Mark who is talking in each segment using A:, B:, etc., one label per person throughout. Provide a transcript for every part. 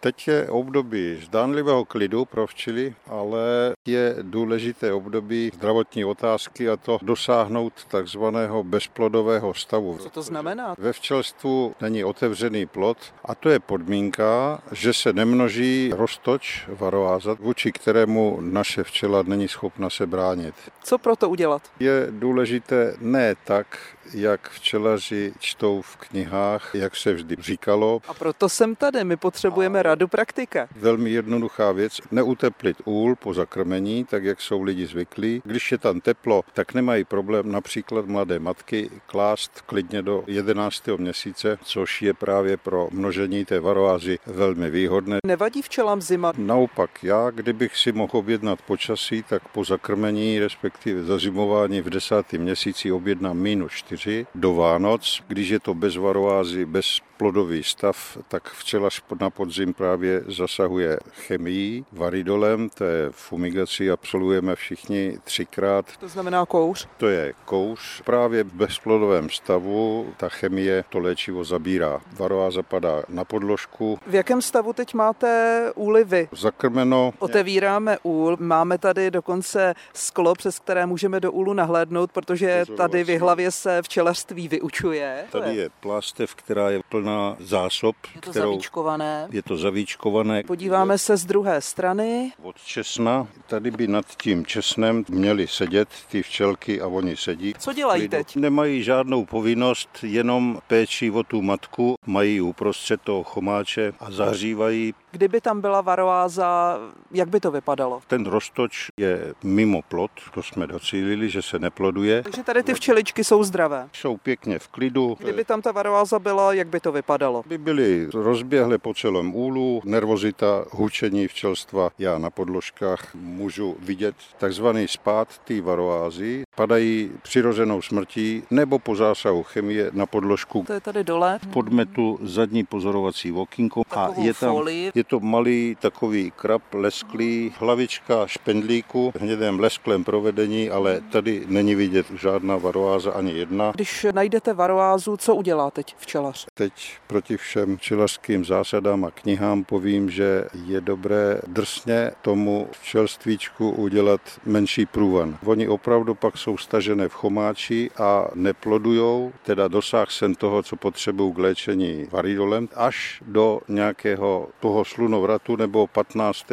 A: Teď je období zdánlivého klidu pro včely, ale je důležité období zdravotní otázky a to dosáhnout takzvaného bezplodového stavu.
B: Co to znamená?
A: Ve včelstvu není otevřený plod a to je podmínka, že se nemnoží roztoč varoáza, vůči kterému naše včela není schopna se bránit.
B: Co proto udělat?
A: Je důležité ne tak, jak včelaři čtou v knihách, jak se vždy říkalo.
B: A proto jsem tady, my potřebujeme a... radu praktika.
A: Velmi jednoduchá věc, neuteplit úl po zakrmení, tak jak jsou lidi zvyklí. Když je tam teplo, tak nemají problém například mladé matky klást klidně do 11. měsíce, což je právě pro množení té varoázy velmi výhodné.
B: Nevadí včelám zima?
A: Naopak, já kdybych si mohl objednat počasí, tak po zakrmení, respektive zazimování v desátém měsíci objednám minus 4 4 do Vánoc. Když je to bez varoázy, bez plodový stav, tak včelař na podzim právě zasahuje chemií, varidolem, té fumigaci absolvujeme všichni třikrát.
B: To znamená kouř?
A: To je kouř. Právě v bezplodovém stavu ta chemie to léčivo zabírá. Varoáza zapadá na podložku.
B: V jakém stavu teď máte úly vy?
A: Zakrmeno.
B: Otevíráme úl, máme tady dokonce sklo, přes které můžeme do úlu nahlédnout, protože tady v hlavě se včelařství vyučuje.
A: vlastně Tady je plástev, která je plná plná zásob.
B: Je to kterou, zavíčkované.
A: Je to zavíčkované.
B: Podíváme se z druhé strany.
A: Od česna. Tady by nad tím česnem měly sedět ty včelky a oni sedí.
B: Co dělají teď?
A: Nemají žádnou povinnost, jenom péči o tu matku. Mají uprostřed toho chomáče a zahřívají.
B: Kdyby tam byla varoáza, jak by to vypadalo?
A: Ten roztoč je mimo plot, to jsme docílili, že se neploduje.
B: Takže tady ty včeličky jsou zdravé.
A: Jsou pěkně v klidu.
B: Kdyby tam ta varoáza byla, jak by to vypadalo?
A: By byly rozběhle po celém úlu, nervozita, hučení včelstva. Já na podložkách můžu vidět takzvaný spád té varoázy. Padají přirozenou smrtí nebo po zásahu chemie na podložku.
B: To je tady dole.
A: Podmetu zadní pozorovací okýnko
B: a
A: je tam
B: folii.
A: je to malý takový krab lesklý, hlavička špendlíku, hnědém lesklém provedení, ale tady není vidět žádná varoáza ani jedna.
B: Když najdete varoázu, co udělá teď včelař?
A: Teď proti všem včelařským zásadám a knihám povím, že je dobré drsně tomu včelstvíčku udělat menší průvan. Oni opravdu pak jsou stažené v chomáči a neplodujou, teda dosáh sen toho, co potřebují k léčení varidolem, až do nějakého toho slunovratu nebo 15.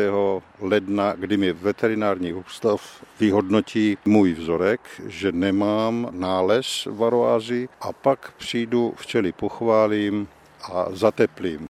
A: ledna, kdy mi veterinární ústav vyhodnotí můj vzorek, že nemám nález varoázy a pak přijdu včely pochválí zateplím a zateplím.